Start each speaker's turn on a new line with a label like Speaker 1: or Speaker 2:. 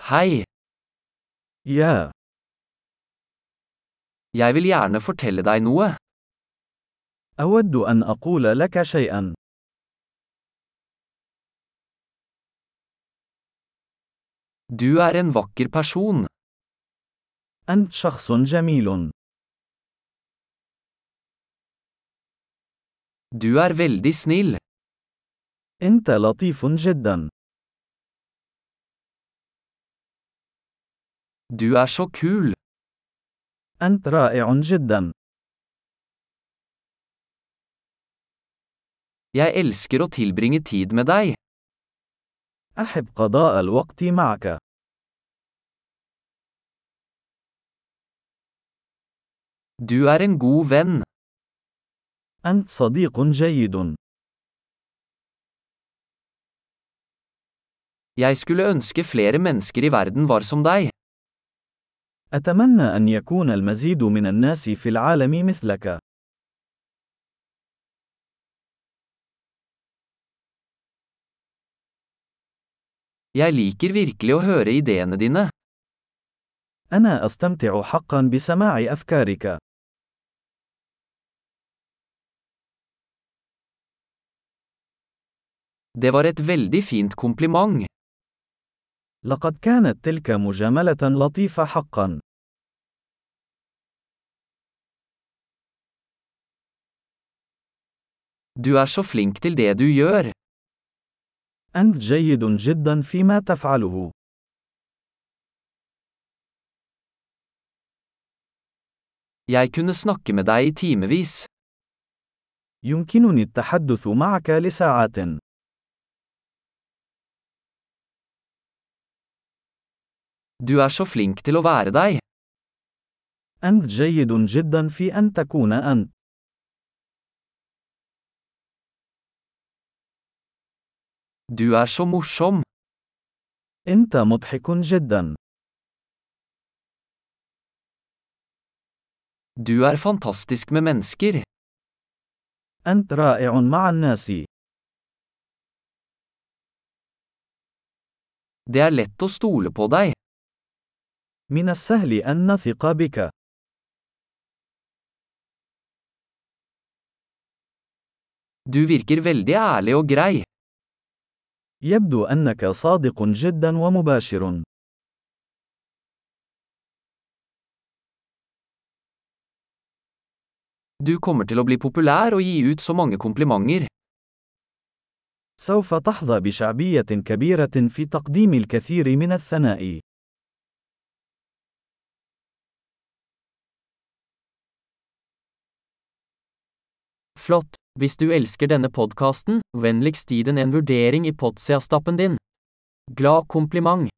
Speaker 1: Hei,
Speaker 2: Yeah,
Speaker 1: jeg vil gjerne fortelle deg noe.
Speaker 2: أود أن أقول لك شيئا.
Speaker 1: Du er en vakker person.
Speaker 2: أنت شخص جميل.
Speaker 1: Du er veldig snill.
Speaker 2: أنت لطيف جدا.
Speaker 1: Du er så kul.
Speaker 2: أنت رائع جدا.
Speaker 1: Jeg elsker å tilbringe tid med deg.
Speaker 2: أحب قضاء الوقت معك.
Speaker 1: Du er en god venn.
Speaker 2: أنت صديق جيد.
Speaker 1: Jeg skulle ønske flere mennesker i verden var som deg.
Speaker 2: أتمنى أن يكون المزيد من الناس في العالم مثلك.
Speaker 1: Jeg liker virkelig å høre ideene dine.
Speaker 2: أنا أستمتع حقا بسماع أفكارك.
Speaker 1: Det var et veldig fint kompliment.
Speaker 2: لقد كانت تلك مجاملة لطيفة حقا.
Speaker 1: Du er så flink til det du gjør.
Speaker 2: أنت جيد جدا فيما تفعله.
Speaker 1: Jeg kunne snakke med deg i timevis.
Speaker 2: يمكنني التحدث معك لساعات.
Speaker 1: Du er så flink til å være deg.
Speaker 2: أنت جيد جدا في أن تكون أنت.
Speaker 1: Du er så morsom.
Speaker 2: أنت مضحك جدا.
Speaker 1: Du er fantastisk med mennesker.
Speaker 2: أنت رائع مع الناس.
Speaker 1: Det er lett å stole på deg.
Speaker 2: من السهل أن نثق بك.
Speaker 1: Du virker veldig ærlig og grei.
Speaker 2: يبدو أنك صادق جدا ومباشر.
Speaker 1: Du kommer til å bli populær og gi ut så mange komplimenter.
Speaker 2: سوف تحظى بشعبية كبيرة في تقديم الكثير من الثناء.
Speaker 1: Flott! Hvis du elsker denne podkasten, vennligst gi den en vurdering i Potsia-stappen din. Glad kompliment!